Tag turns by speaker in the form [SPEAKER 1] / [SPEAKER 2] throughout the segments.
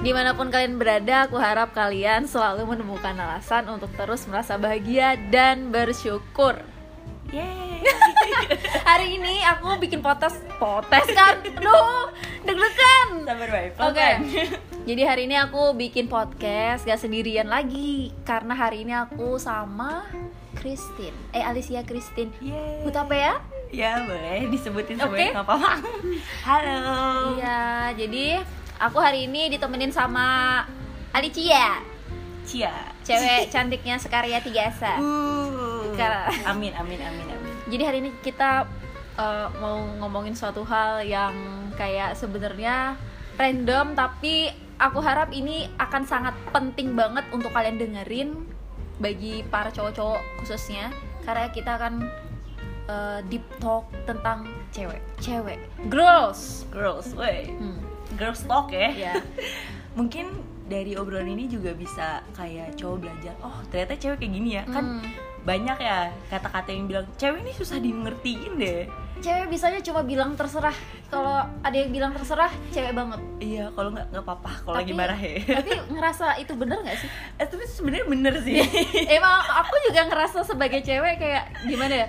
[SPEAKER 1] Dimanapun kalian berada, aku harap kalian selalu menemukan alasan untuk terus merasa bahagia dan bersyukur.
[SPEAKER 2] Yeay.
[SPEAKER 1] Hari ini aku bikin potes, potes kan, duh, deg-degan.
[SPEAKER 2] Sabar baik.
[SPEAKER 1] Oke. Jadi hari ini aku bikin podcast gak sendirian lagi karena hari ini aku sama Christine. Eh Alicia Christine.
[SPEAKER 2] Yeay.
[SPEAKER 1] Hutape ya?
[SPEAKER 2] Ya boleh disebutin
[SPEAKER 1] Oke.
[SPEAKER 2] semuanya nggak apa-apa. Halo.
[SPEAKER 1] Iya, jadi aku hari ini ditemenin sama Alicia,
[SPEAKER 2] Cia.
[SPEAKER 1] cewek cantiknya Sekaria Tiga Asa.
[SPEAKER 2] Uh.
[SPEAKER 1] Kara.
[SPEAKER 2] Amin amin amin amin.
[SPEAKER 1] Jadi hari ini kita eh, mau ngomongin suatu hal yang kayak sebenarnya random tapi aku harap ini akan sangat penting banget untuk kalian dengerin bagi para cowok-cowok khususnya karena kita akan eh, deep talk tentang
[SPEAKER 2] Cewek.
[SPEAKER 1] cewek girls.
[SPEAKER 2] Girls, woi.
[SPEAKER 1] Hmm,
[SPEAKER 2] Girls talk ya.
[SPEAKER 1] ya.
[SPEAKER 2] Mungkin dari obrolan ini juga bisa kayak cowok belajar. Oh ternyata cewek kayak gini ya.
[SPEAKER 1] Hmm.
[SPEAKER 2] Kan banyak ya kata-kata yang bilang cewek ini susah dimengertiin deh.
[SPEAKER 1] cewek bisanya cuma bilang terserah. Kalau ada yang bilang terserah, cewek banget.
[SPEAKER 2] Iya, kalau nggak nggak apa-apa kalau
[SPEAKER 1] Tapi-
[SPEAKER 2] lagi marah ya.
[SPEAKER 1] Tapi ngerasa itu bener nggak sih?
[SPEAKER 2] Eh, tapi sebenarnya bener sih.
[SPEAKER 1] emang aku juga ngerasa sebagai cewek kayak gimana ya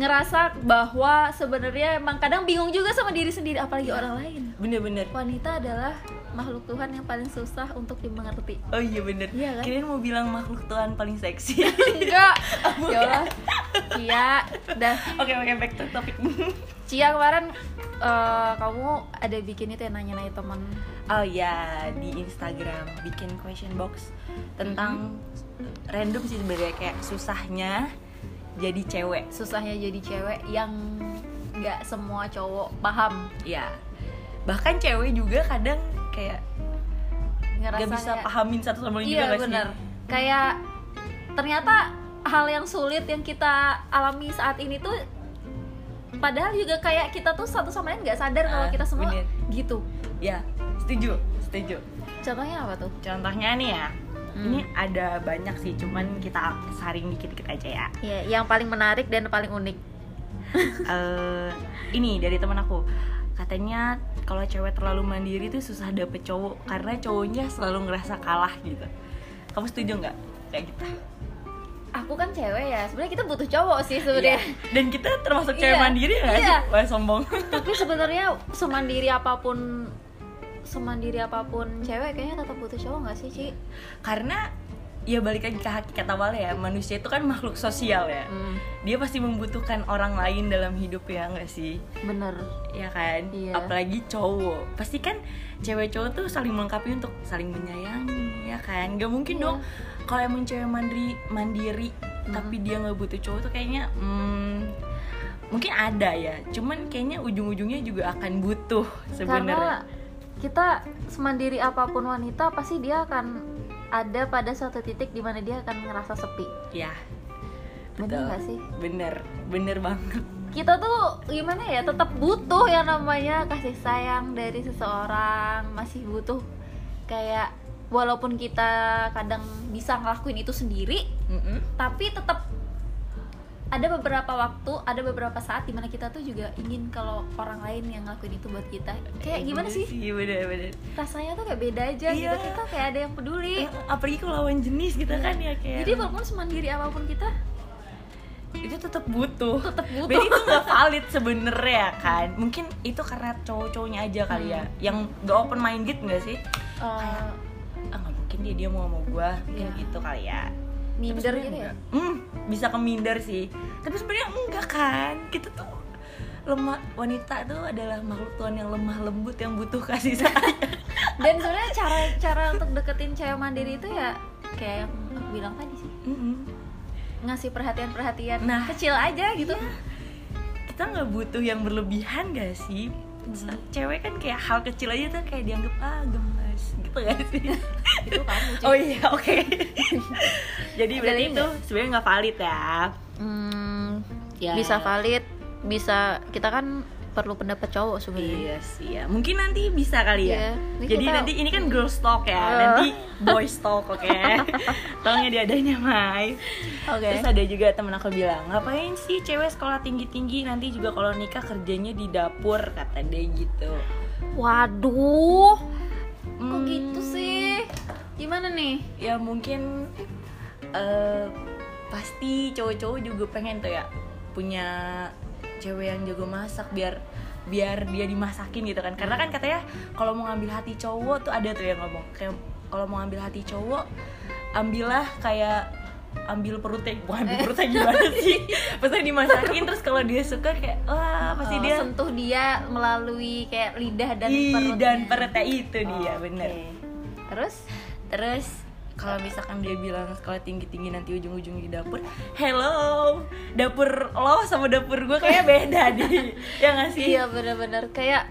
[SPEAKER 1] ngerasa bahwa sebenarnya emang kadang bingung juga sama diri sendiri apalagi orang lain
[SPEAKER 2] Bener-bener.
[SPEAKER 1] wanita adalah makhluk Tuhan yang paling susah untuk dimengerti
[SPEAKER 2] Oh iya bener.
[SPEAKER 1] Iya kan?
[SPEAKER 2] Kalian mau bilang makhluk Tuhan paling seksi.
[SPEAKER 1] enggak ya Allah Cia dah
[SPEAKER 2] Oke oke back to topic.
[SPEAKER 1] Cia kemarin eh, kamu ada bikin itu yang nanya-nanya teman
[SPEAKER 2] oh ya di Instagram bikin question box tentang random sih sebenarnya kayak susahnya jadi cewek.
[SPEAKER 1] susahnya jadi cewek yang nggak semua cowok paham
[SPEAKER 2] Ya bahkan cewek juga kadang kayak
[SPEAKER 1] ngerasa
[SPEAKER 2] nggak bisa
[SPEAKER 1] kayak-
[SPEAKER 2] pahamin satu sama lain juga
[SPEAKER 1] Iya
[SPEAKER 2] nggak sih?
[SPEAKER 1] benar. Kayak ternyata hal yang sulit yang kita alami saat ini tuh padahal juga kayak kita tuh satu sama lain nggak sadar kalau
[SPEAKER 2] Ah,
[SPEAKER 1] kita semua
[SPEAKER 2] bener.
[SPEAKER 1] gitu.
[SPEAKER 2] Ya setuju setuju.
[SPEAKER 1] Contohnya apa tuh?
[SPEAKER 2] Contohnya nih ya.
[SPEAKER 1] Hmm.
[SPEAKER 2] Ini ada banyak sih, cuman kita saring dikit-dikit aja ya.
[SPEAKER 1] Ya, yang paling menarik dan paling unik.
[SPEAKER 2] eh ini dari teman aku katanya kalau cewek terlalu mandiri tuh susah dapet cowok karena cowoknya selalu ngerasa kalah gitu kamu setuju nggak kayak gitu
[SPEAKER 1] Aku kan cewek ya. Sebenarnya kita butuh cowok sih
[SPEAKER 2] Iya.
[SPEAKER 1] sebenarnya.
[SPEAKER 2] dan kita termasuk cewek
[SPEAKER 1] Iya,
[SPEAKER 2] mandiri nggak
[SPEAKER 1] iya.
[SPEAKER 2] sih wah sombong
[SPEAKER 1] Tapi sebenarnya semandiri apapun semandiri apapun cewek kayaknya tetap butuh cowok nggak sih, Ci?
[SPEAKER 2] karena ya balik lagi ke hakikat awalnya ya manusia itu kan makhluk sosial
[SPEAKER 1] Hmm.
[SPEAKER 2] ya dia pasti membutuhkan orang lain dalam hidup ya nggak sih
[SPEAKER 1] bener.
[SPEAKER 2] ya kan
[SPEAKER 1] Iya.
[SPEAKER 2] apalagi cowok pasti kan cewek cowok tuh saling melengkapi untuk saling menyayangi ya kan gak mungkin
[SPEAKER 1] Iya.
[SPEAKER 2] dong kalau emang cewek mandiri mandiri
[SPEAKER 1] Mhm.
[SPEAKER 2] tapi dia nggak butuh cowok tuh kayaknya hmm, mungkin ada ya cuman kayaknya ujung-ujungnya juga akan butuh
[SPEAKER 1] karena
[SPEAKER 2] sebenarnya
[SPEAKER 1] kita semandiri apapun wanita pasti dia akan ada pada suatu titik di mana dia akan ngerasa sepi
[SPEAKER 2] ya
[SPEAKER 1] bener
[SPEAKER 2] Betul.
[SPEAKER 1] nggak sih
[SPEAKER 2] bener bener banget
[SPEAKER 1] kita tuh gimana ya tetap butuh yang namanya kasih sayang dari seseorang masih butuh kayak walaupun kita kadang bisa ngelakuin itu sendiri
[SPEAKER 2] Mm-mm.
[SPEAKER 1] tapi tetap ada beberapa waktu, ada beberapa saat dimana kita tuh juga ingin kalau orang lain yang ngelakuin itu buat kita. Kayak
[SPEAKER 2] Mhm.
[SPEAKER 1] gimana sih?
[SPEAKER 2] Iya bener bener
[SPEAKER 1] Rasanya tuh kayak beda aja
[SPEAKER 2] Iya.
[SPEAKER 1] gitu. Kita kayak ada yang peduli.
[SPEAKER 2] Eh, apalagi kalau lawan jenis gitu kan ya kayak
[SPEAKER 1] Jadi walaupun semandiri apapun kita
[SPEAKER 2] itu tetap butuh
[SPEAKER 1] tetap
[SPEAKER 2] Berarti
[SPEAKER 1] butuh.
[SPEAKER 2] itu nggak valid sebenernya kan Mungkin itu karena cowok-cowoknya aja kali ya
[SPEAKER 1] Hmm.
[SPEAKER 2] Yang nggak open minded nggak sih?
[SPEAKER 1] Eh,
[SPEAKER 2] Ah nggak mungkin dia dia mau sama gue Mungkin
[SPEAKER 1] Iya.
[SPEAKER 2] gitu kali ya Tapi
[SPEAKER 1] minder
[SPEAKER 2] sebenarnya
[SPEAKER 1] gitu ya.
[SPEAKER 2] nggak. Hmm, bisa ke minder sih Tapi sebenarnya enggak kan Kita tuh lemah wanita tuh adalah makhluk Tuhan yang lemah lembut yang butuh kasih sayang
[SPEAKER 1] Dan sebenarnya cara cara untuk deketin cewek mandiri itu ya kayak yang aku bilang tadi sih.
[SPEAKER 2] Mm-mm.
[SPEAKER 1] Ngasih perhatian-perhatian
[SPEAKER 2] Nah. Iya.
[SPEAKER 1] kecil aja gitu.
[SPEAKER 2] kita nggak butuh yang berlebihan gak sih cewek kan kayak hal kecil aja tuh kayak dianggap ah gemes gitu gak sih
[SPEAKER 1] Itu kamu. Ci.
[SPEAKER 2] Oh iya, oke. Jadi
[SPEAKER 1] Ada
[SPEAKER 2] berarti
[SPEAKER 1] link
[SPEAKER 2] itu sebenarnya nggak valid ya.
[SPEAKER 1] Hmm,
[SPEAKER 2] Ya.
[SPEAKER 1] Bisa valid, bisa kita kan perlu pendapat cowok sebenarnya.
[SPEAKER 2] Iya sih ya. Mungkin nanti bisa
[SPEAKER 1] Hmm.
[SPEAKER 2] kali
[SPEAKER 1] Iya.
[SPEAKER 2] ya.
[SPEAKER 1] Ini
[SPEAKER 2] Jadi
[SPEAKER 1] kita-
[SPEAKER 2] nanti ini kan girls talk ya.
[SPEAKER 1] Eh.
[SPEAKER 2] Nanti boys talk, oke. Tolong ya diadain ya, Mai.
[SPEAKER 1] Oke.
[SPEAKER 2] Terus ada juga temen aku bilang, ngapain sih cewek sekolah tinggi-tinggi nanti juga kalau nikah kerjanya di dapur kata dia gitu.
[SPEAKER 1] Waduh. Kok
[SPEAKER 2] Hmm.
[SPEAKER 1] gitu sih? Gimana nih?
[SPEAKER 2] ya mungkin eh, pasti cowok-cowok juga pengen tuh ya punya cewek yang jago masak biar biar dia dimasakin gitu kan karena kan
[SPEAKER 1] Hmm.
[SPEAKER 2] katanya kalau mau ngambil hati cowok tuh ada tuh yang ngomong kayak kalau mau ngambil hati cowok ambillah kayak ambil perutnya bukan ambil
[SPEAKER 1] Eh.
[SPEAKER 2] perutnya gimana sih pasti dimasakin terus kalau dia suka kayak wah pasti
[SPEAKER 1] Oh,
[SPEAKER 2] dia
[SPEAKER 1] sentuh dia melalui kayak lidah dan
[SPEAKER 2] Ih,
[SPEAKER 1] perutnya. Oh,
[SPEAKER 2] dan perutnya itu dia
[SPEAKER 1] Oke.
[SPEAKER 2] Iya, bener
[SPEAKER 1] Terus
[SPEAKER 2] Terus kalau misalkan dia bilang sekolah tinggi-tinggi nanti ujung-ujung di dapur, hello, dapur lo sama dapur gue kayak beda di, ya nggak sih?
[SPEAKER 1] iya bener-bener kayak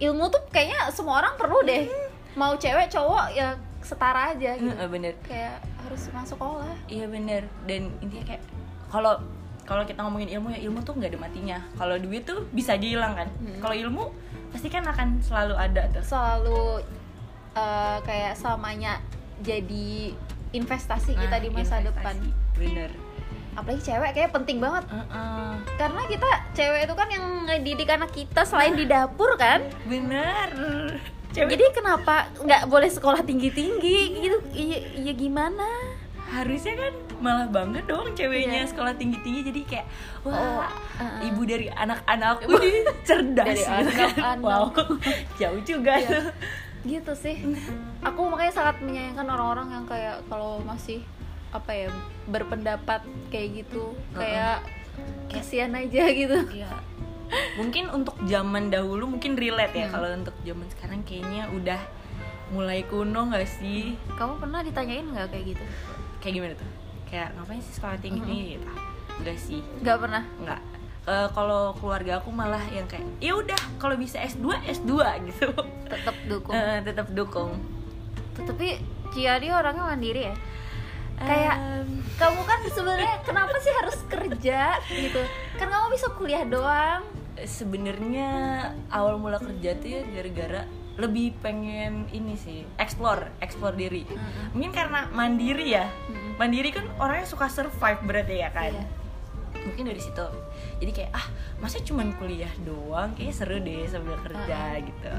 [SPEAKER 1] ilmu tuh kayaknya semua orang perlu deh. Mau cewek cowok ya setara aja gitu.
[SPEAKER 2] Heeh, bener,
[SPEAKER 1] Kayak harus masuk sekolah.
[SPEAKER 2] iya bener. Dan intinya kayak kalau kalau kita ngomongin ilmu ya ilmu tuh nggak ada matinya. Kalau duit tuh bisa aja hilang kan.
[SPEAKER 1] Hmm.
[SPEAKER 2] Kalau ilmu pasti kan akan selalu ada terus.
[SPEAKER 1] Selalu eh, kayak samanya jadi
[SPEAKER 2] Nah,
[SPEAKER 1] investasi kita di masa depan.
[SPEAKER 2] Bener.
[SPEAKER 1] Apalagi cewek kayak penting banget
[SPEAKER 2] Heeh.
[SPEAKER 1] karena kita cewek itu kan yang ngedidik anak kita selain di dapur kan
[SPEAKER 2] Bener.
[SPEAKER 1] Iya.
[SPEAKER 2] Cewek
[SPEAKER 1] jadi kenapa nggak boleh sekolah tinggi tinggi gitu iya iya gimana
[SPEAKER 2] harusnya kan malah bangga dong ceweknya
[SPEAKER 1] Iya.
[SPEAKER 2] sekolah tinggi tinggi jadi kayak wah
[SPEAKER 1] Oh, uh-uh.
[SPEAKER 2] ibu dari anak-anakku nih cerdas
[SPEAKER 1] Dari
[SPEAKER 2] gitu kan.
[SPEAKER 1] anak-anak.
[SPEAKER 2] wow jauh juga
[SPEAKER 1] Iya.
[SPEAKER 2] tuh
[SPEAKER 1] gitu sih aku makanya sangat menyayangkan orang-orang yang kayak kalau masih apa ya berpendapat kayak gitu kayak kasihan aja gitu
[SPEAKER 2] Iya. mungkin untuk zaman dahulu mungkin relate ya
[SPEAKER 1] Hmm.
[SPEAKER 2] kalau untuk zaman sekarang kayaknya udah mulai kuno nggak sih
[SPEAKER 1] kamu pernah ditanyain nggak kayak gitu
[SPEAKER 2] kayak gimana tuh kayak ngapain sih sekolah tinggi
[SPEAKER 1] Hmm.
[SPEAKER 2] tinggi gitu enggak sih
[SPEAKER 1] nggak pernah
[SPEAKER 2] nggak Eh, kalau keluarga aku malah yang kayak ya udah kalau bisa S2 S2 gitu
[SPEAKER 1] tetap dukung
[SPEAKER 2] Eh, tetap dukung
[SPEAKER 1] tapi Cia dia orangnya mandiri ya Kayak-
[SPEAKER 2] Em,
[SPEAKER 1] kamu kan sebenarnya kenapa sih harus kerja gitu kan kamu bisa kuliah doang
[SPEAKER 2] sebenarnya awal mula kerja tuh ya gara-gara lebih pengen ini sih explore explore diri
[SPEAKER 1] Mm-mm.
[SPEAKER 2] mungkin karena mandiri ya
[SPEAKER 1] Mm-mm.
[SPEAKER 2] mandiri kan orangnya suka survive berarti ya kan
[SPEAKER 1] Iya.
[SPEAKER 2] mungkin dari situ jadi kayak ah masa cuman kuliah doang kayak seru deh sambil kerja gitu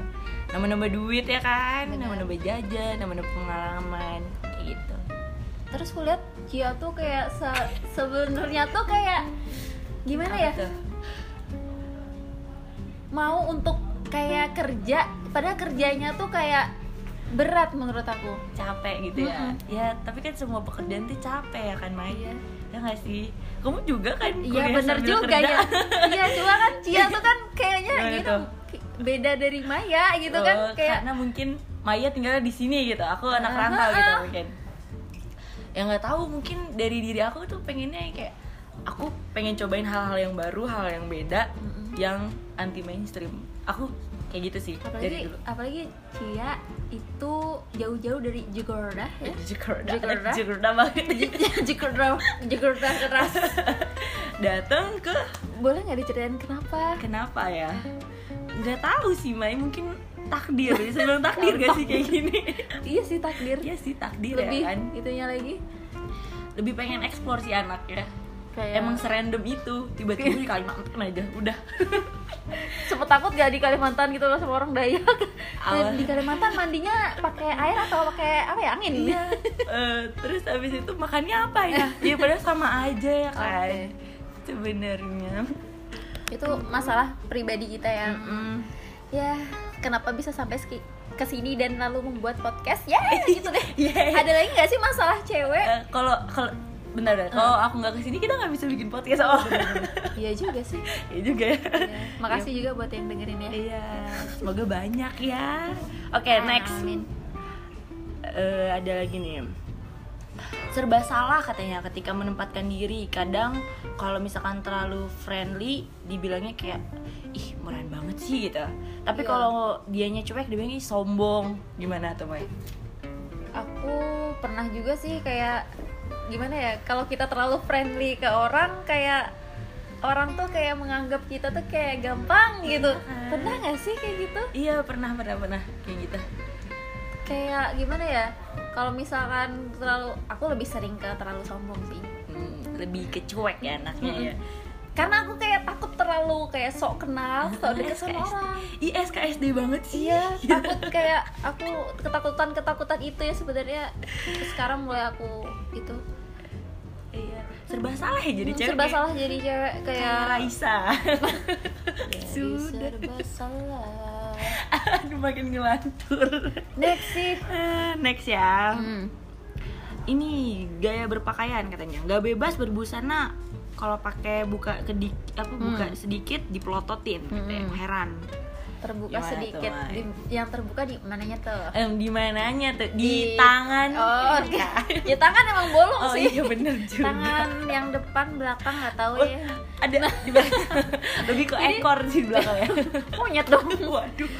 [SPEAKER 2] nambah-nambah duit ya kan
[SPEAKER 1] Benar.
[SPEAKER 2] nambah-nambah jajan nambah-nambah pengalaman kayak gitu
[SPEAKER 1] terus aku lihat Gia tuh kayak se- sebenarnya tuh kayak gimana
[SPEAKER 2] Apa
[SPEAKER 1] ya
[SPEAKER 2] tuh?
[SPEAKER 1] mau untuk kayak kerja padahal kerjanya tuh kayak berat menurut aku
[SPEAKER 2] capek gitu ya
[SPEAKER 1] Mm-mm.
[SPEAKER 2] ya tapi kan semua pekerjaan tuh capek ya kan Mai
[SPEAKER 1] Iya.
[SPEAKER 2] ya nggak sih kamu juga kan
[SPEAKER 1] iya
[SPEAKER 2] kuliah
[SPEAKER 1] bener
[SPEAKER 2] sambil
[SPEAKER 1] juga
[SPEAKER 2] kerja.
[SPEAKER 1] ya iya cuma kan Cia tuh kan kayaknya
[SPEAKER 2] Gimana
[SPEAKER 1] gitu
[SPEAKER 2] tuh?
[SPEAKER 1] ki- beda dari Maya gitu kan
[SPEAKER 2] Oh,
[SPEAKER 1] kayak
[SPEAKER 2] karena mungkin Maya tinggalnya di sini gitu aku anak
[SPEAKER 1] Ah,
[SPEAKER 2] rantau
[SPEAKER 1] ah,
[SPEAKER 2] gitu
[SPEAKER 1] ah.
[SPEAKER 2] mungkin ya nggak tahu mungkin dari diri aku tuh pengennya kayak aku pengen cobain hal-hal yang baru hal yang beda
[SPEAKER 1] Mm-mm.
[SPEAKER 2] yang anti mainstream aku kayak gitu sih
[SPEAKER 1] apalagi
[SPEAKER 2] dari dulu
[SPEAKER 1] apalagi Cia itu jauh-jauh dari Jakarta ya
[SPEAKER 2] Iya. Jakarta,
[SPEAKER 1] Jakarta. Iya.
[SPEAKER 2] Jakarta banget
[SPEAKER 1] Jakarta Jakarta keras
[SPEAKER 2] datang ke
[SPEAKER 1] boleh nggak diceritain kenapa
[SPEAKER 2] kenapa ya nggak tahu sih Mai mungkin takdir bisa bilang takdir gak sih kayak gini
[SPEAKER 1] iya sih takdir
[SPEAKER 2] Iya sih takdir
[SPEAKER 1] lebih
[SPEAKER 2] ya kan
[SPEAKER 1] itunya lagi
[SPEAKER 2] lebih pengen eksplor si anak ya
[SPEAKER 1] kayak
[SPEAKER 2] emang serandom itu tiba-tiba di Kalimantan aja udah
[SPEAKER 1] sempet takut gak di Kalimantan gitu loh sama orang Dayak
[SPEAKER 2] Awal.
[SPEAKER 1] di Kalimantan mandinya pakai air atau pakai apa ya angin
[SPEAKER 2] Eh, terus abis itu makannya apa ya ya padahal sama aja ya kan
[SPEAKER 1] Oke.
[SPEAKER 2] sebenarnya
[SPEAKER 1] itu masalah pribadi kita yang
[SPEAKER 2] Mm-mm.
[SPEAKER 1] ya kenapa bisa sampai ski- ke sini dan lalu membuat podcast ya gitu deh
[SPEAKER 2] Yeay.
[SPEAKER 1] ada lagi nggak sih masalah cewek
[SPEAKER 2] Eh, kalau kalau benar deh kalau aku nggak kesini kita nggak bisa bikin podcast oh
[SPEAKER 1] iya juga sih
[SPEAKER 2] ya juga ya
[SPEAKER 1] Iya. makasih juga buat yang dengerin ya
[SPEAKER 2] iya semoga banyak ya oke next
[SPEAKER 1] Amin.
[SPEAKER 2] Eh, ada lagi nih serba salah katanya ketika menempatkan diri kadang kalau misalkan terlalu friendly dibilangnya kayak ih murahan banget sih gitu tapi
[SPEAKER 1] Iya.
[SPEAKER 2] kalau dianya cuek dibilangnya "Ih, sombong gimana tuh Mai?
[SPEAKER 1] aku pernah juga sih kayak gimana ya kalau kita terlalu friendly ke orang kayak orang tuh kayak menganggap kita tuh kayak gampang gitu pernah nggak sih kayak gitu
[SPEAKER 2] iya pernah pernah pernah kayak gitu
[SPEAKER 1] kayak gimana ya kalau misalkan terlalu aku lebih sering ke terlalu sombong sih
[SPEAKER 2] Hmm, lebih ke cuek ya anaknya ya
[SPEAKER 1] karena aku kayak takut terlalu kayak sok kenal
[SPEAKER 2] Ah,
[SPEAKER 1] sok deket sama
[SPEAKER 2] SKSD.
[SPEAKER 1] orang
[SPEAKER 2] Ih, SKSD banget sih.
[SPEAKER 1] iya takut kayak aku ketakutan ketakutan itu ya sebenarnya sekarang mulai aku itu
[SPEAKER 2] Iya. Serba salah ya jadi
[SPEAKER 1] Hmm,
[SPEAKER 2] cewek.
[SPEAKER 1] serba
[SPEAKER 2] kayak-
[SPEAKER 1] salah jadi cewek
[SPEAKER 2] Kayak
[SPEAKER 1] kayak
[SPEAKER 2] Raisa.
[SPEAKER 1] Jadi
[SPEAKER 2] Sudah.
[SPEAKER 1] serba salah
[SPEAKER 2] Aduh, makin ngelantur.
[SPEAKER 1] next sih
[SPEAKER 2] Eh, Next ya.
[SPEAKER 1] Hmm.
[SPEAKER 2] Ini gaya berpakaian katanya. Gak bebas berbusana. Kalau pakai buka kedik apa buka sedikit dipelototin katanya.
[SPEAKER 1] Hmm.
[SPEAKER 2] Heran.
[SPEAKER 1] terbuka
[SPEAKER 2] Gimana tuh,
[SPEAKER 1] sedikit
[SPEAKER 2] Mai?
[SPEAKER 1] Di- yang terbuka di mananya tuh
[SPEAKER 2] Em di mananya tuh? Di, iya.
[SPEAKER 1] Di-
[SPEAKER 2] tangan.
[SPEAKER 1] oh oke ya tangan emang bolong
[SPEAKER 2] Oh
[SPEAKER 1] sih
[SPEAKER 2] iya bener juga.
[SPEAKER 1] tangan yang depan belakang nggak tahu
[SPEAKER 2] Oh,
[SPEAKER 1] ya
[SPEAKER 2] ada di belakang. Lebih ke ekor sih di belakang ya.
[SPEAKER 1] monyet dong
[SPEAKER 2] Waduh.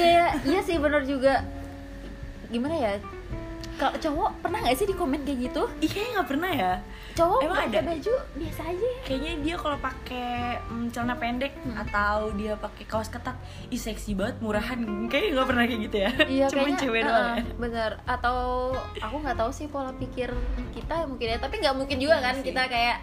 [SPEAKER 1] kayak iya sih bener juga gimana ya kalau cowok pernah nggak sih di komen kayak gitu
[SPEAKER 2] Ih, kayaknya nggak pernah ya.
[SPEAKER 1] cowok
[SPEAKER 2] Emang
[SPEAKER 1] pakai
[SPEAKER 2] ada?
[SPEAKER 1] baju biasa aja ya
[SPEAKER 2] Kayaknya dia kalau pakai mm, celana pendek
[SPEAKER 1] Hmm.
[SPEAKER 2] atau dia pakai kaos ketat, ih seksi banget, murahan. Kayaknya nggak pernah kayak gitu ya.
[SPEAKER 1] Iya
[SPEAKER 2] Cuman
[SPEAKER 1] kayaknya
[SPEAKER 2] cewek
[SPEAKER 1] eh,
[SPEAKER 2] doang.
[SPEAKER 1] eh,
[SPEAKER 2] ya.
[SPEAKER 1] bener atau aku nggak tahu sih pola pikir kita mungkin ya tapi nggak mungkin juga
[SPEAKER 2] Iya
[SPEAKER 1] kan
[SPEAKER 2] sih.
[SPEAKER 1] kita kayak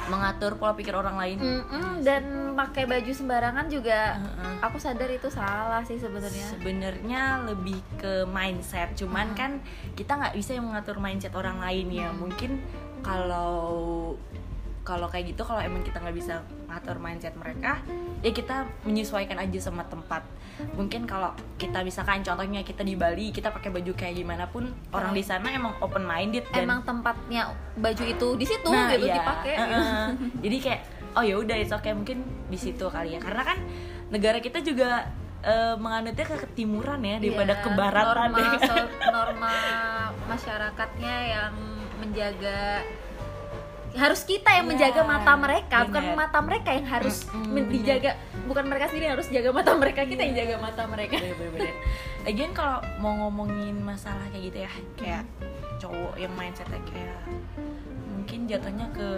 [SPEAKER 2] Mengatur pola pikir orang lain.
[SPEAKER 1] mm-mm, dan pakai baju sembarangan juga
[SPEAKER 2] Heeh.
[SPEAKER 1] aku sadar itu salah sih sebenarnya
[SPEAKER 2] Sebenarnya lebih ke mindset, cuman
[SPEAKER 1] Hmm.
[SPEAKER 2] kan kita nggak bisa yang mengatur mindset orang lain ya.
[SPEAKER 1] Hmm.
[SPEAKER 2] Mungkin kalau kalau kayak gitu, kalau emang kita nggak bisa ngatur mindset mereka, ya kita menyesuaikan aja sama tempat. Mungkin kalau kita misalkan contohnya kita di Bali, kita pakai baju kayak gimana pun orang di sana emang open minded dan
[SPEAKER 1] emang tempatnya baju itu di situ
[SPEAKER 2] Nah,
[SPEAKER 1] gitu
[SPEAKER 2] iya.
[SPEAKER 1] dipakai
[SPEAKER 2] Heeh.
[SPEAKER 1] gitu.
[SPEAKER 2] jadi kayak oh ya udah itu kayak mungkin di situ kali ya karena kan negara kita juga eh, menganutnya ke ketimuran ya daripada
[SPEAKER 1] Iya,
[SPEAKER 2] ke baratan
[SPEAKER 1] norma,
[SPEAKER 2] ya.
[SPEAKER 1] so- norma masyarakatnya yang menjaga harus kita yang
[SPEAKER 2] Iya,
[SPEAKER 1] menjaga mata mereka bukan
[SPEAKER 2] bener.
[SPEAKER 1] mata mereka yang harus
[SPEAKER 2] Mm-mm, Iya.
[SPEAKER 1] men-
[SPEAKER 2] bener.
[SPEAKER 1] dijaga bukan mereka sendiri yang harus jaga mata mereka kita yang jaga mata mereka
[SPEAKER 2] Bener-bener. Lagian kalau mau ngomongin masalah kayak gitu ya kayak cowok yang mindsetnya kayak mungkin jatuhnya ke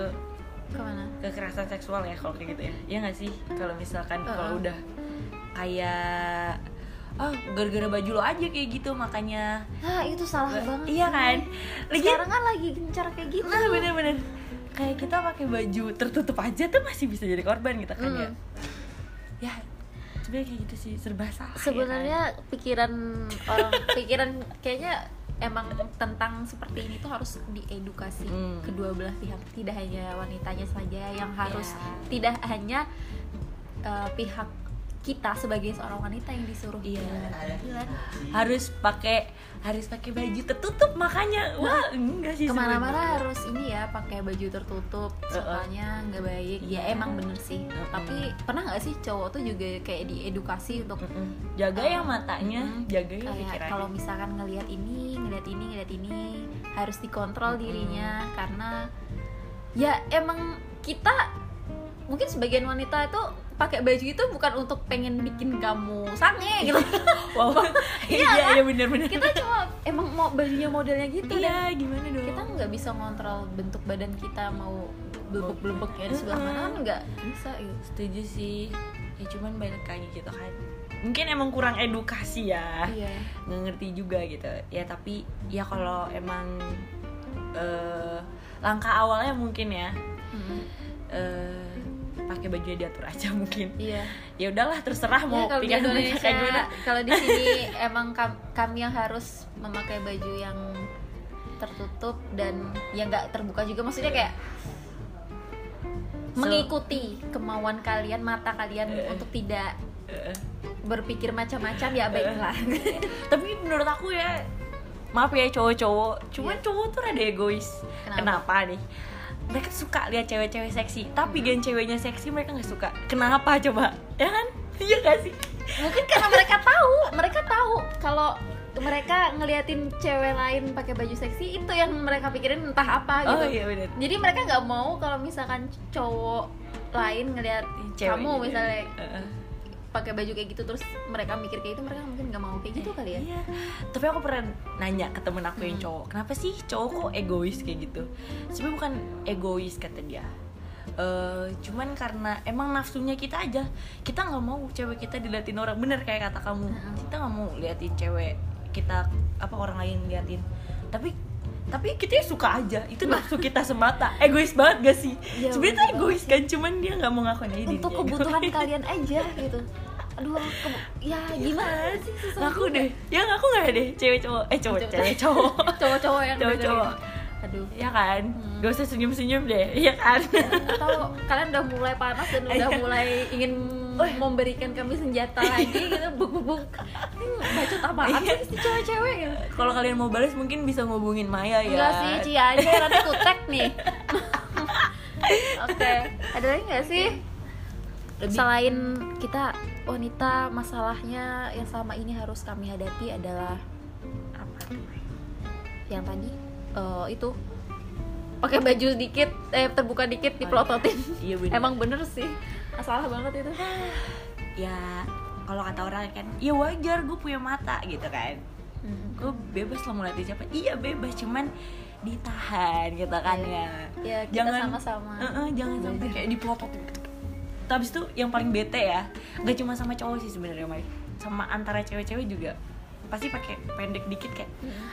[SPEAKER 1] kemana
[SPEAKER 2] kekerasan seksual ya kalau kayak gitu ya Iya nggak sih kalau misalkan
[SPEAKER 1] Heeh.
[SPEAKER 2] kalau udah kayak oh gara-gara baju lo aja kayak gitu makanya
[SPEAKER 1] ah itu salah banget
[SPEAKER 2] iya kan Lagian
[SPEAKER 1] sekarang kan lagi gencar kayak gitu
[SPEAKER 2] Nah bener-bener kayak kita pakai baju tertutup aja tuh masih bisa jadi korban gitu kan ya.
[SPEAKER 1] Mm.
[SPEAKER 2] Ya sebenarnya kayak gitu sih serba salah. ya kan?
[SPEAKER 1] sebenarnya pikiran orang pikiran kayaknya emang tentang seperti ini tuh harus diedukasi
[SPEAKER 2] Hmm.
[SPEAKER 1] kedua belah pihak tidak hanya wanitanya saja yang harus
[SPEAKER 2] Iya.
[SPEAKER 1] tidak hanya uh, pihak kita sebagai seorang wanita yang disuruh
[SPEAKER 2] Iya.
[SPEAKER 1] Gila.
[SPEAKER 2] harus pakai harus pakai baju tertutup makanya wah enggak sih
[SPEAKER 1] kemana-mana harus ini ya pakai baju tertutup
[SPEAKER 2] Heeh.
[SPEAKER 1] soalnya nggak baik ya
[SPEAKER 2] Iya.
[SPEAKER 1] emang bener sih
[SPEAKER 2] Heeh.
[SPEAKER 1] tapi pernah nggak sih cowok tuh juga kayak diedukasi untuk
[SPEAKER 2] sebenarnya. Mm-mm. Jaga yang matanya,
[SPEAKER 1] Mm-mm.
[SPEAKER 2] jaga yang
[SPEAKER 1] kayak
[SPEAKER 2] pikirannya.
[SPEAKER 1] kalau misalkan ngelihat ini ngelihat ini ngelihat ini harus dikontrol
[SPEAKER 2] Mm-mm.
[SPEAKER 1] dirinya karena ya emang kita mungkin sebagian wanita itu pakai baju itu bukan untuk pengen bikin kamu sange gitu
[SPEAKER 2] wow. iya, iya, bener-bener.
[SPEAKER 1] kan? kita cuma emang mau bajunya modelnya gitu
[SPEAKER 2] iya,
[SPEAKER 1] dan
[SPEAKER 2] gimana dong?
[SPEAKER 1] kita nggak bisa ngontrol bentuk badan kita mau belebek belebeknya di sebelah mana kan nggak bisa gitu
[SPEAKER 2] setuju sih. Ya cuman balik lagi gitu kan. Mungkin emang kurang edukasi ya.
[SPEAKER 1] iya
[SPEAKER 2] nggak ngerti juga gitu ya tapi ya kalau emang eh, langkah awalnya mungkin ya
[SPEAKER 1] Mm-mm.
[SPEAKER 2] eh, pakai baju yang diatur aja mungkin
[SPEAKER 1] iya
[SPEAKER 2] ya udahlah terserah
[SPEAKER 1] Ya,
[SPEAKER 2] mau
[SPEAKER 1] kalau di
[SPEAKER 2] pikiran mereka
[SPEAKER 1] Indonesia
[SPEAKER 2] kayak gimana
[SPEAKER 1] kalau di sini emang kam- kami yang harus memakai baju yang tertutup dan yang nggak terbuka juga maksudnya kayak
[SPEAKER 2] So-
[SPEAKER 1] mengikuti kemauan kalian mata kalian
[SPEAKER 2] Eh.
[SPEAKER 1] untuk tidak
[SPEAKER 2] Eh,
[SPEAKER 1] berpikir macam-macam ya baiklah
[SPEAKER 2] tapi menurut aku ya maaf ya cowok-cowok cuman
[SPEAKER 1] Iya.
[SPEAKER 2] cowok tuh rada egois
[SPEAKER 1] Kenapa?
[SPEAKER 2] kenapa, nih mereka tuh suka lihat cewek-cewek seksi tapi
[SPEAKER 1] Hmm.
[SPEAKER 2] gan ceweknya seksi mereka nggak suka kenapa coba ya kan iya gak sih
[SPEAKER 1] mungkin Kan karena mereka tahu mereka tahu kalau mereka ngeliatin cewek lain pakai baju seksi itu yang mereka pikirin entah apa gitu
[SPEAKER 2] oh iya bener
[SPEAKER 1] jadi mereka nggak mau kalau misalkan cowok lain ngelihat
[SPEAKER 2] Cewek
[SPEAKER 1] kamu
[SPEAKER 2] gitu.
[SPEAKER 1] misalnya
[SPEAKER 2] Heeh.
[SPEAKER 1] pakai baju kayak gitu terus mereka mikir kayak itu mereka mungkin nggak mau kayak gitu kali ya
[SPEAKER 2] Iya. Tapi aku pernah nanya ke temen aku yang
[SPEAKER 1] Hmm.
[SPEAKER 2] cowok, kenapa sih cowok kok egois kayak gitu? Sebenarnya bukan egois kata dia. Eh, cuman karena emang nafsunya kita aja kita nggak mau cewek kita diliatin orang bener kayak kata kamu
[SPEAKER 1] Mm-mm.
[SPEAKER 2] kita nggak mau liatin cewek kita apa orang lain liatin tapi tapi kita ya suka aja itu nafsu kita semata egois banget gak sih
[SPEAKER 1] Iya,
[SPEAKER 2] sebenarnya
[SPEAKER 1] bener
[SPEAKER 2] tuh egois kan cuman dia gitu. nggak mau ngakuin aja
[SPEAKER 1] untuk
[SPEAKER 2] dirinya
[SPEAKER 1] kebutuhan
[SPEAKER 2] egois.
[SPEAKER 1] kalian aja gitu aduh ke- ya gimana sih susah
[SPEAKER 2] ngaku
[SPEAKER 1] juga.
[SPEAKER 2] Iya. deh ya ngaku nggak deh cewek cowok eh cowok
[SPEAKER 1] Cewek-
[SPEAKER 2] cewek cowok
[SPEAKER 1] cowok-cowok yang
[SPEAKER 2] Cowok-cowok.
[SPEAKER 1] dengerin. aduh
[SPEAKER 2] ya kan
[SPEAKER 1] Hmm.
[SPEAKER 2] gak usah senyum senyum deh ya kan
[SPEAKER 1] atau kalian udah mulai panas dan udah
[SPEAKER 2] Iya.
[SPEAKER 1] mulai ingin memberikan kami senjata lagi gitu buk-buk ini bacot apaan
[SPEAKER 2] Iya.
[SPEAKER 1] sih si cewek-cewek gitu
[SPEAKER 2] kalau kalian mau balas mungkin bisa ngubungin Maya ya
[SPEAKER 1] Enggak sih, Cia aja nanti kutek nih. Oke, ada lagi nggak sih?
[SPEAKER 2] Lebih-
[SPEAKER 1] Selain kita wanita, masalahnya yang selama ini harus kami hadapi adalah
[SPEAKER 2] Apa tuh?
[SPEAKER 1] yang tadi eh, itu pakai baju dikit, eh terbuka dikit dipelototin.
[SPEAKER 2] Oh, iya bener
[SPEAKER 1] Emang bener sih, masalah banget itu.
[SPEAKER 2] ya kalau kata orang kan ya wajar gue punya mata gitu kan
[SPEAKER 1] Mm.
[SPEAKER 2] gue bebas lah mau lihat siapa iya bebas cuman ditahan gitu kan ya
[SPEAKER 1] Ya kita sama-sama.
[SPEAKER 2] Eh, eh, jangan sampai kayak diplotot tapi itu yang paling bete ya nggak cuma sama cowok sih sebenarnya Mai sama antara cewek-cewek juga pasti pakai pendek dikit kayak
[SPEAKER 1] Mm.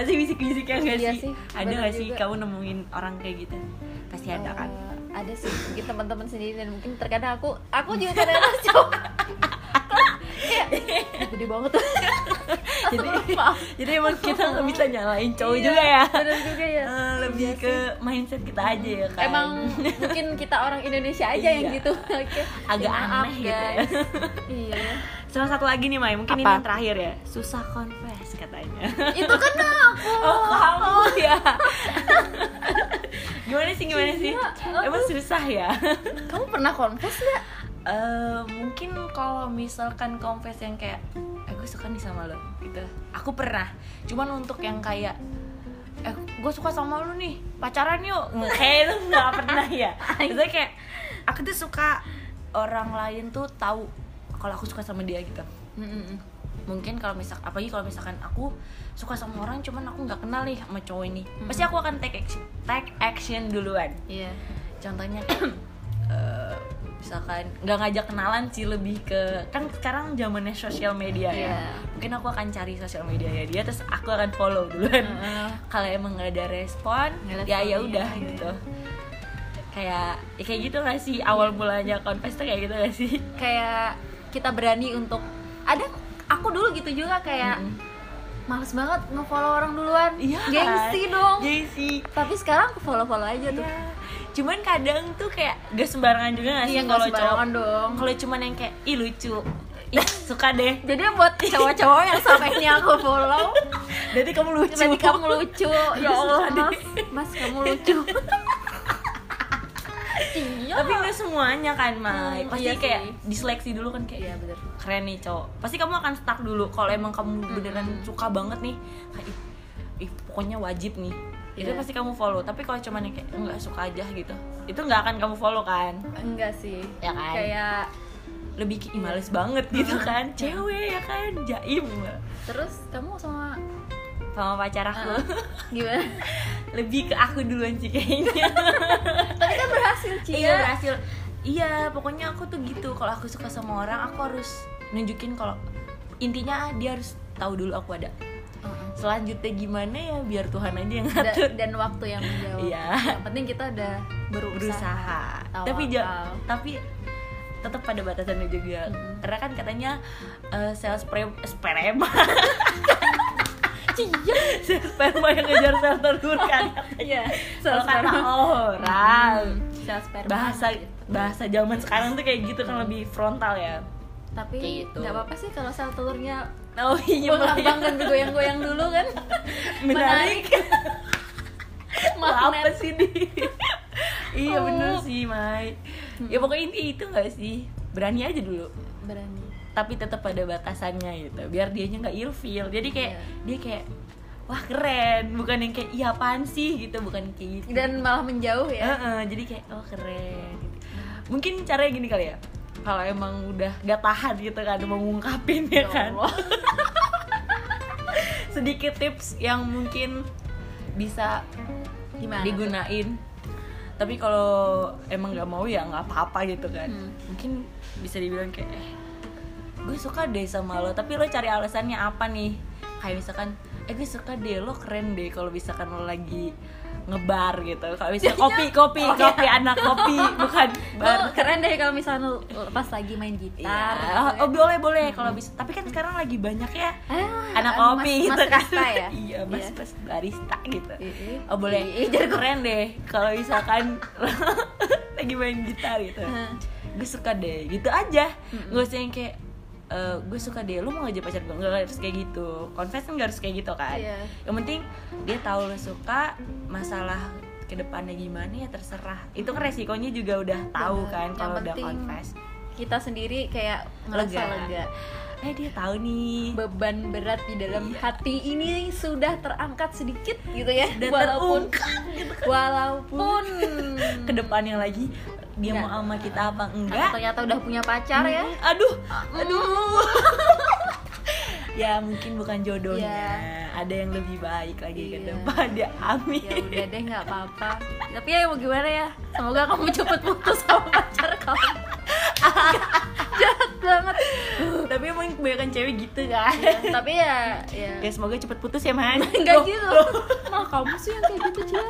[SPEAKER 2] pasti bisik-bisik ya nggak
[SPEAKER 1] Iya
[SPEAKER 2] sih,
[SPEAKER 1] sih,
[SPEAKER 2] ada
[SPEAKER 1] bener
[SPEAKER 2] nggak sih
[SPEAKER 1] juga.
[SPEAKER 2] kamu nemuin orang kayak gitu pasti ada kan
[SPEAKER 1] Eh, ada sih mungkin teman-teman sendiri dan mungkin terkadang aku aku juga kadang-kadang suka kayak "Ih, gede banget
[SPEAKER 2] jadi
[SPEAKER 1] Maaf. Iya,
[SPEAKER 2] jadi emang kita nggak bisa nyalain cowok juga ya
[SPEAKER 1] bener juga ya
[SPEAKER 2] Eh, lebih ke mindset kita aja ya kan
[SPEAKER 1] emang mungkin kita orang Indonesia aja yang
[SPEAKER 2] Iya.
[SPEAKER 1] gitu oke
[SPEAKER 2] Agak
[SPEAKER 1] Ya, maaf,
[SPEAKER 2] aneh gitu ya.
[SPEAKER 1] guys. iya
[SPEAKER 2] sama satu lagi nih Mai mungkin ini
[SPEAKER 1] Apa?
[SPEAKER 2] yang terakhir ya susah confess katanya
[SPEAKER 1] itu kan aku
[SPEAKER 2] oh kamu ya gimana sih gimana sih
[SPEAKER 1] Gila, aku-
[SPEAKER 2] emang susah ya
[SPEAKER 1] kamu pernah confess nggak
[SPEAKER 2] Eh, mungkin kalau misalkan confess yang kayak eh gue suka nih sama lo gitu aku pernah cuman untuk yang kayak eh gue suka sama lu nih pacaran yuk Nggak, kayak lu nggak pernah ya Maksudnya kayak aku tuh suka orang lain tuh tahu kalau aku suka sama dia gitu mungkin kalau misal apalagi kalau misalkan aku suka sama orang cuman aku nggak kenal nih sama cowok ini pasti aku akan take action take action duluan
[SPEAKER 1] iya
[SPEAKER 2] contohnya eh, misalkan nggak ngajak kenalan sih lebih ke kan sekarang zamannya sosial media ya
[SPEAKER 1] Iya.
[SPEAKER 2] mungkin aku akan cari sosial media ya dia terus aku akan follow duluan
[SPEAKER 1] Heeh.
[SPEAKER 2] kalau emang nggak ada respon
[SPEAKER 1] Nggak ada
[SPEAKER 2] ya ya
[SPEAKER 1] responnya,
[SPEAKER 2] udah
[SPEAKER 1] iya,
[SPEAKER 2] gitu kayak ya kayak gitu gak sih awal mulanya confess tuh kayak gitu gak sih
[SPEAKER 1] kayak kita berani untuk ada aku dulu gitu juga kayak males banget ngefollow orang duluan Iya,
[SPEAKER 2] Iya.
[SPEAKER 1] gengsi dong
[SPEAKER 2] gengsi
[SPEAKER 1] tapi sekarang aku follow follow aja tuh
[SPEAKER 2] Iya. Cuman kadang tuh kayak gak sembarangan juga gak sih
[SPEAKER 1] Iya, nggak
[SPEAKER 2] kalau
[SPEAKER 1] sembarangan
[SPEAKER 2] cowok
[SPEAKER 1] dong.
[SPEAKER 2] Kalau cuman yang kayak ih lucu, ih suka deh.
[SPEAKER 1] jadi buat cowok-cowok yang sampai ini aku follow
[SPEAKER 2] Berarti kamu lucu.
[SPEAKER 1] berarti kamu lucu ya Allah
[SPEAKER 2] Susah,
[SPEAKER 1] mas mas kamu lucu iya
[SPEAKER 2] Tapi gak semuanya kan, Mai.
[SPEAKER 1] Hmm,
[SPEAKER 2] Pasti
[SPEAKER 1] iya sih.
[SPEAKER 2] kayak diseleksi dulu kan kayak
[SPEAKER 1] iya bener
[SPEAKER 2] keren nih cowok. Pasti kamu akan stuck dulu kalau emang
[SPEAKER 1] Hmm.
[SPEAKER 2] kamu beneran suka banget nih. Kayak ih, ih, pokoknya wajib nih. Itu
[SPEAKER 1] Iya.
[SPEAKER 2] pasti kamu follow. Tapi kalau cuman yang kayak nggak suka aja gitu, itu nggak akan kamu follow kan?
[SPEAKER 1] enggak sih
[SPEAKER 2] Ya kan?
[SPEAKER 1] kayak
[SPEAKER 2] Lebih kayak, "Ih, males banget gitu
[SPEAKER 1] Hmm.
[SPEAKER 2] kan, cewek ya kan, jaim.
[SPEAKER 1] terus kamu sama ah,
[SPEAKER 2] sama pacar aku
[SPEAKER 1] Hmm. gimana
[SPEAKER 2] lebih ke aku duluan sih kayaknya
[SPEAKER 1] tapi kan berhasil Cia
[SPEAKER 2] iya berhasil iya pokoknya aku tuh gitu kalau aku suka sama orang aku harus nunjukin kalau intinya dia harus tahu dulu aku ada
[SPEAKER 1] Heeh.
[SPEAKER 2] selanjutnya gimana ya biar Tuhan aja yang
[SPEAKER 1] Da-
[SPEAKER 2] ngatur
[SPEAKER 1] dan waktu yang menjawab
[SPEAKER 2] Iya.
[SPEAKER 1] yang penting kita udah berusaha,
[SPEAKER 2] berusaha
[SPEAKER 1] Tawakal.
[SPEAKER 2] tapi ja- tapi tetap pada batasannya juga
[SPEAKER 1] Mm-mm.
[SPEAKER 2] karena kan katanya eh, sel spre- sperma
[SPEAKER 1] Cia
[SPEAKER 2] sel sperma yang ngejar sel telur kan
[SPEAKER 1] iya
[SPEAKER 2] kalau kata orang
[SPEAKER 1] Sales sperma.
[SPEAKER 2] bahasa
[SPEAKER 1] gitu.
[SPEAKER 2] bahasa zaman sekarang tuh kayak gitu kan lebih frontal ya kayak
[SPEAKER 1] tapi
[SPEAKER 2] gitu.
[SPEAKER 1] nggak apa-apa sih kalau sel telurnya
[SPEAKER 2] oh iya
[SPEAKER 1] berkembang dan digoyang-goyang dulu kan
[SPEAKER 2] menarik apa
[SPEAKER 1] magnet
[SPEAKER 2] sih di iya
[SPEAKER 1] Oh. Hmm.
[SPEAKER 2] bener sih Mai ya pokoknya inti itu gak sih berani aja dulu
[SPEAKER 1] berani
[SPEAKER 2] tapi tetap ada batasannya gitu biar dianya nggak ilfeel jadi kayak
[SPEAKER 1] Iya.
[SPEAKER 2] dia kayak wah keren bukan yang kayak iya apaan sih gitu bukan kayak gitu
[SPEAKER 1] dan malah menjauh ya
[SPEAKER 2] Heeh, jadi kayak oh keren gitu. mungkin caranya gini kali ya kalau emang udah gak tahan gitu kan mau ngungkapin ya kan
[SPEAKER 1] Allah.
[SPEAKER 2] sedikit tips yang mungkin bisa
[SPEAKER 1] gimana tuh?
[SPEAKER 2] digunain tapi kalau emang nggak mau ya nggak apa-apa gitu kan
[SPEAKER 1] Hmm.
[SPEAKER 2] mungkin bisa dibilang kayak eh, gue suka deh sama lo tapi lo cari alasannya apa nih kayak misalkan eh gue suka deh lo keren deh kalau misalkan lo lagi ngebar gitu kalau bisa kopi kopi
[SPEAKER 1] Oh,
[SPEAKER 2] kopi
[SPEAKER 1] iya.
[SPEAKER 2] anak kopi bukan bar
[SPEAKER 1] Lu keren deh kalau misalnya lu pas lagi main gitar
[SPEAKER 2] Iya.
[SPEAKER 1] gitu
[SPEAKER 2] Oh,
[SPEAKER 1] kan.
[SPEAKER 2] boleh boleh kalau bisa. Tapi kan sekarang lagi banyak ya
[SPEAKER 1] Ah,
[SPEAKER 2] anak
[SPEAKER 1] mas-
[SPEAKER 2] kopi
[SPEAKER 1] mas
[SPEAKER 2] gitu kan.
[SPEAKER 1] kasta ya?
[SPEAKER 2] iya, mas
[SPEAKER 1] Iya.
[SPEAKER 2] mas barista gitu.
[SPEAKER 1] Iya.
[SPEAKER 2] Oh, boleh.
[SPEAKER 1] Iya, jadi gua-
[SPEAKER 2] keren deh kalau misalkan lagi main gitar gitu.
[SPEAKER 1] Heeh.
[SPEAKER 2] gue suka deh gitu aja.
[SPEAKER 1] Mm-mm.
[SPEAKER 2] Gak usah yang kayak "Eh, gue suka deh, lu mau ngajak pacar gue nggak harus kayak gitu Confess kan nggak harus kayak gitu kan
[SPEAKER 1] Iya.
[SPEAKER 2] Yang penting dia tahu lu suka Masalah kedepannya gimana ya terserah Itu kan resikonya juga udah tahu
[SPEAKER 1] Bener.
[SPEAKER 2] kan
[SPEAKER 1] Yang
[SPEAKER 2] Kalau udah
[SPEAKER 1] penting
[SPEAKER 2] confess
[SPEAKER 1] kita sendiri kayak ngerasa
[SPEAKER 2] Lega.
[SPEAKER 1] lega.
[SPEAKER 2] eh dia tahu nih
[SPEAKER 1] beban berat di dalam
[SPEAKER 2] Iya.
[SPEAKER 1] hati ini sudah terangkat sedikit gitu ya
[SPEAKER 2] Sudah
[SPEAKER 1] walaupun
[SPEAKER 2] terungkap gitu kan.
[SPEAKER 1] walaupun
[SPEAKER 2] ke depannya lagi dia
[SPEAKER 1] Nggak.
[SPEAKER 2] mau sama kita apa
[SPEAKER 1] Karena
[SPEAKER 2] enggak
[SPEAKER 1] ternyata udah punya pacar ya
[SPEAKER 2] Mm, aduh aduh ya mungkin bukan jodohnya ada yang lebih baik lagi ke
[SPEAKER 1] Iya.
[SPEAKER 2] depan ya amin
[SPEAKER 1] ya udah deh nggak apa-apa tapi ya mau gimana ya semoga kamu cepet putus sama pacar kamu jahat banget
[SPEAKER 2] tapi emang kebanyakan cewek gitu kan
[SPEAKER 1] Ya, tapi ya ya
[SPEAKER 2] ya semoga cepet putus ya man
[SPEAKER 1] nggak
[SPEAKER 2] Loh,
[SPEAKER 1] gitu
[SPEAKER 2] loh.
[SPEAKER 1] malah kamu sih yang kayak gitu Cia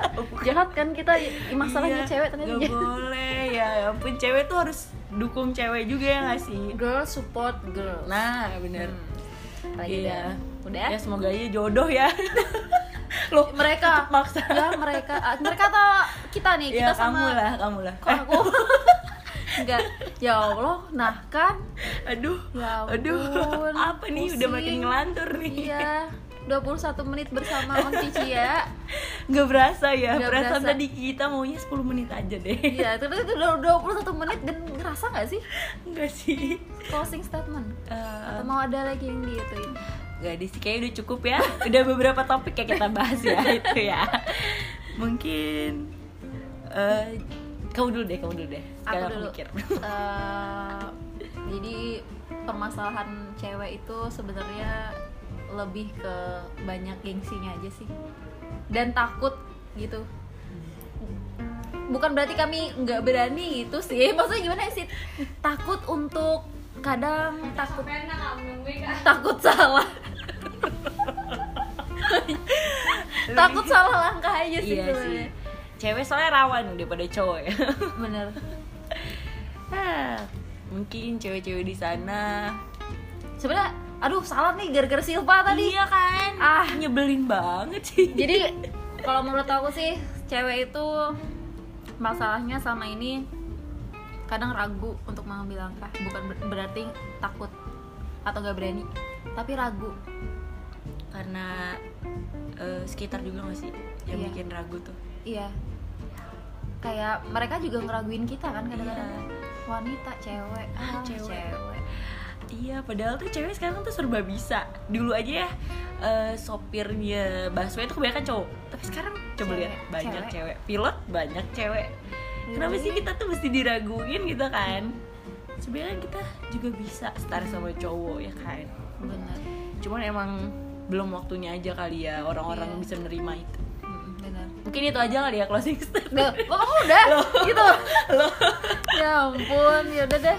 [SPEAKER 1] jahat kan kita i- masalahnya
[SPEAKER 2] Iya,
[SPEAKER 1] cewek ternyata
[SPEAKER 2] nggak
[SPEAKER 1] jahat.
[SPEAKER 2] boleh ya ya ampun cewek tuh harus dukung cewek juga ya nggak sih
[SPEAKER 1] girl support Hmm. girl
[SPEAKER 2] nah bener
[SPEAKER 1] lagi
[SPEAKER 2] Iya.
[SPEAKER 1] udah udah
[SPEAKER 2] Ya semoga aja jodoh ya. Loh,
[SPEAKER 1] mereka
[SPEAKER 2] tetep maksa.
[SPEAKER 1] ya mereka ah, mereka atau kita nih
[SPEAKER 2] ya,
[SPEAKER 1] kita sama
[SPEAKER 2] kamu lah, kamu lah.
[SPEAKER 1] kok aku enggak ya allah nah kan
[SPEAKER 2] Eh, aduh.
[SPEAKER 1] ya ampun,
[SPEAKER 2] aduh. Apa nih udah makin
[SPEAKER 1] pusing.
[SPEAKER 2] ngelantur nih.
[SPEAKER 1] iya 21 menit bersama Om Cici ya
[SPEAKER 2] Nggak berasa ya.
[SPEAKER 1] Nggak
[SPEAKER 2] Berasa
[SPEAKER 1] berasa.
[SPEAKER 2] tadi kita maunya 10 menit aja deh.
[SPEAKER 1] Iya, tapi itu udah 21 menit dan ngerasa nggak sih
[SPEAKER 2] Enggak sih.
[SPEAKER 1] closing statement?
[SPEAKER 2] Eh.
[SPEAKER 1] Atau mau ada lagi yang diituin?
[SPEAKER 2] Gak ada sih, kayaknya udah cukup ya Udah beberapa topik ya kita bahas ya Itu ya Mungkin eh Kamu dulu deh, kamu dulu deh Sekarang
[SPEAKER 1] aku dulu.
[SPEAKER 2] mikir
[SPEAKER 1] Eh, jadi permasalahan cewek itu sebenarnya lebih ke banyak gengsinya aja sih dan takut gitu. Bukan berarti kami nggak berani gitu sih. Maksudnya gimana sih? Takut untuk kadang takut takut salah. takut salah langkah aja sih
[SPEAKER 2] Iya sih
[SPEAKER 1] sebenarnya.
[SPEAKER 2] Cewek soalnya rawan daripada cowok ya
[SPEAKER 1] Bener.
[SPEAKER 2] Ah, mungkin cewek-cewek di sana
[SPEAKER 1] Sebenarnya aduh salah nih gara-gara Silva tadi.
[SPEAKER 2] iya kan
[SPEAKER 1] Ah.
[SPEAKER 2] nyebelin banget sih
[SPEAKER 1] jadi kalau menurut aku sih cewek itu masalahnya sama ini kadang ragu untuk mengambil langkah bukan ber- berarti takut atau gak berani tapi ragu
[SPEAKER 2] karena eh, sekitar juga gak sih yang
[SPEAKER 1] Iya.
[SPEAKER 2] bikin ragu tuh
[SPEAKER 1] iya kayak mereka juga ngeraguin kita kan kadang-kadang
[SPEAKER 2] Iya.
[SPEAKER 1] wanita cewek
[SPEAKER 2] Ah,
[SPEAKER 1] ah,
[SPEAKER 2] cewek.
[SPEAKER 1] cewek.
[SPEAKER 2] Iya, padahal tuh cewek sekarang tuh serba bisa. Dulu aja ya eh, sopirnya busway itu kebanyakan cowok. Tapi sekarang coba
[SPEAKER 1] Cewek,
[SPEAKER 2] lihat banyak
[SPEAKER 1] cewek.
[SPEAKER 2] cewek. pilot banyak cewek. Kenapa
[SPEAKER 1] Iya.
[SPEAKER 2] sih kita tuh mesti diraguin gitu kan? Sebenarnya kita juga bisa setara sama cowok ya kan.
[SPEAKER 1] bener
[SPEAKER 2] Cuman emang belum waktunya aja kali ya orang-orang
[SPEAKER 1] Iya.
[SPEAKER 2] bisa menerima itu.
[SPEAKER 1] Mm, bener
[SPEAKER 2] Mungkin itu aja kali ya closing statement.
[SPEAKER 1] Duh, kok kamu udah gitu ya ampun ya udah deh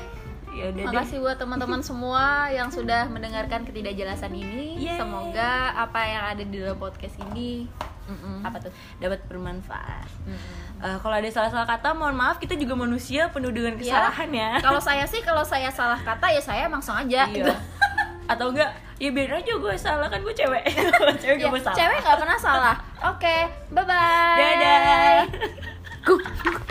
[SPEAKER 2] Ya udah deh.
[SPEAKER 1] Makasih buat teman-teman semua yang sudah mendengarkan ketidakjelasan ini.
[SPEAKER 2] Yeay.
[SPEAKER 1] Semoga apa yang ada di dalam podcast ini
[SPEAKER 2] Mm-mm.
[SPEAKER 1] apa tuh?
[SPEAKER 2] Dapat bermanfaat. Eh, kalau ada salah-salah kata, mohon maaf kita juga manusia penuh
[SPEAKER 1] Iya.
[SPEAKER 2] dengan kesalahan ya.
[SPEAKER 1] Kalau saya sih kalau saya salah kata ya saya emang sengaja.
[SPEAKER 2] iya.
[SPEAKER 1] gitu.
[SPEAKER 2] atau enggak ya biarin aja gue salah kan gue cewek Kalau cewek
[SPEAKER 1] Ya,
[SPEAKER 2] gak mau salah
[SPEAKER 1] cewek nggak pernah salah. Oke, bye bye.
[SPEAKER 2] dadah
[SPEAKER 1] Dadah.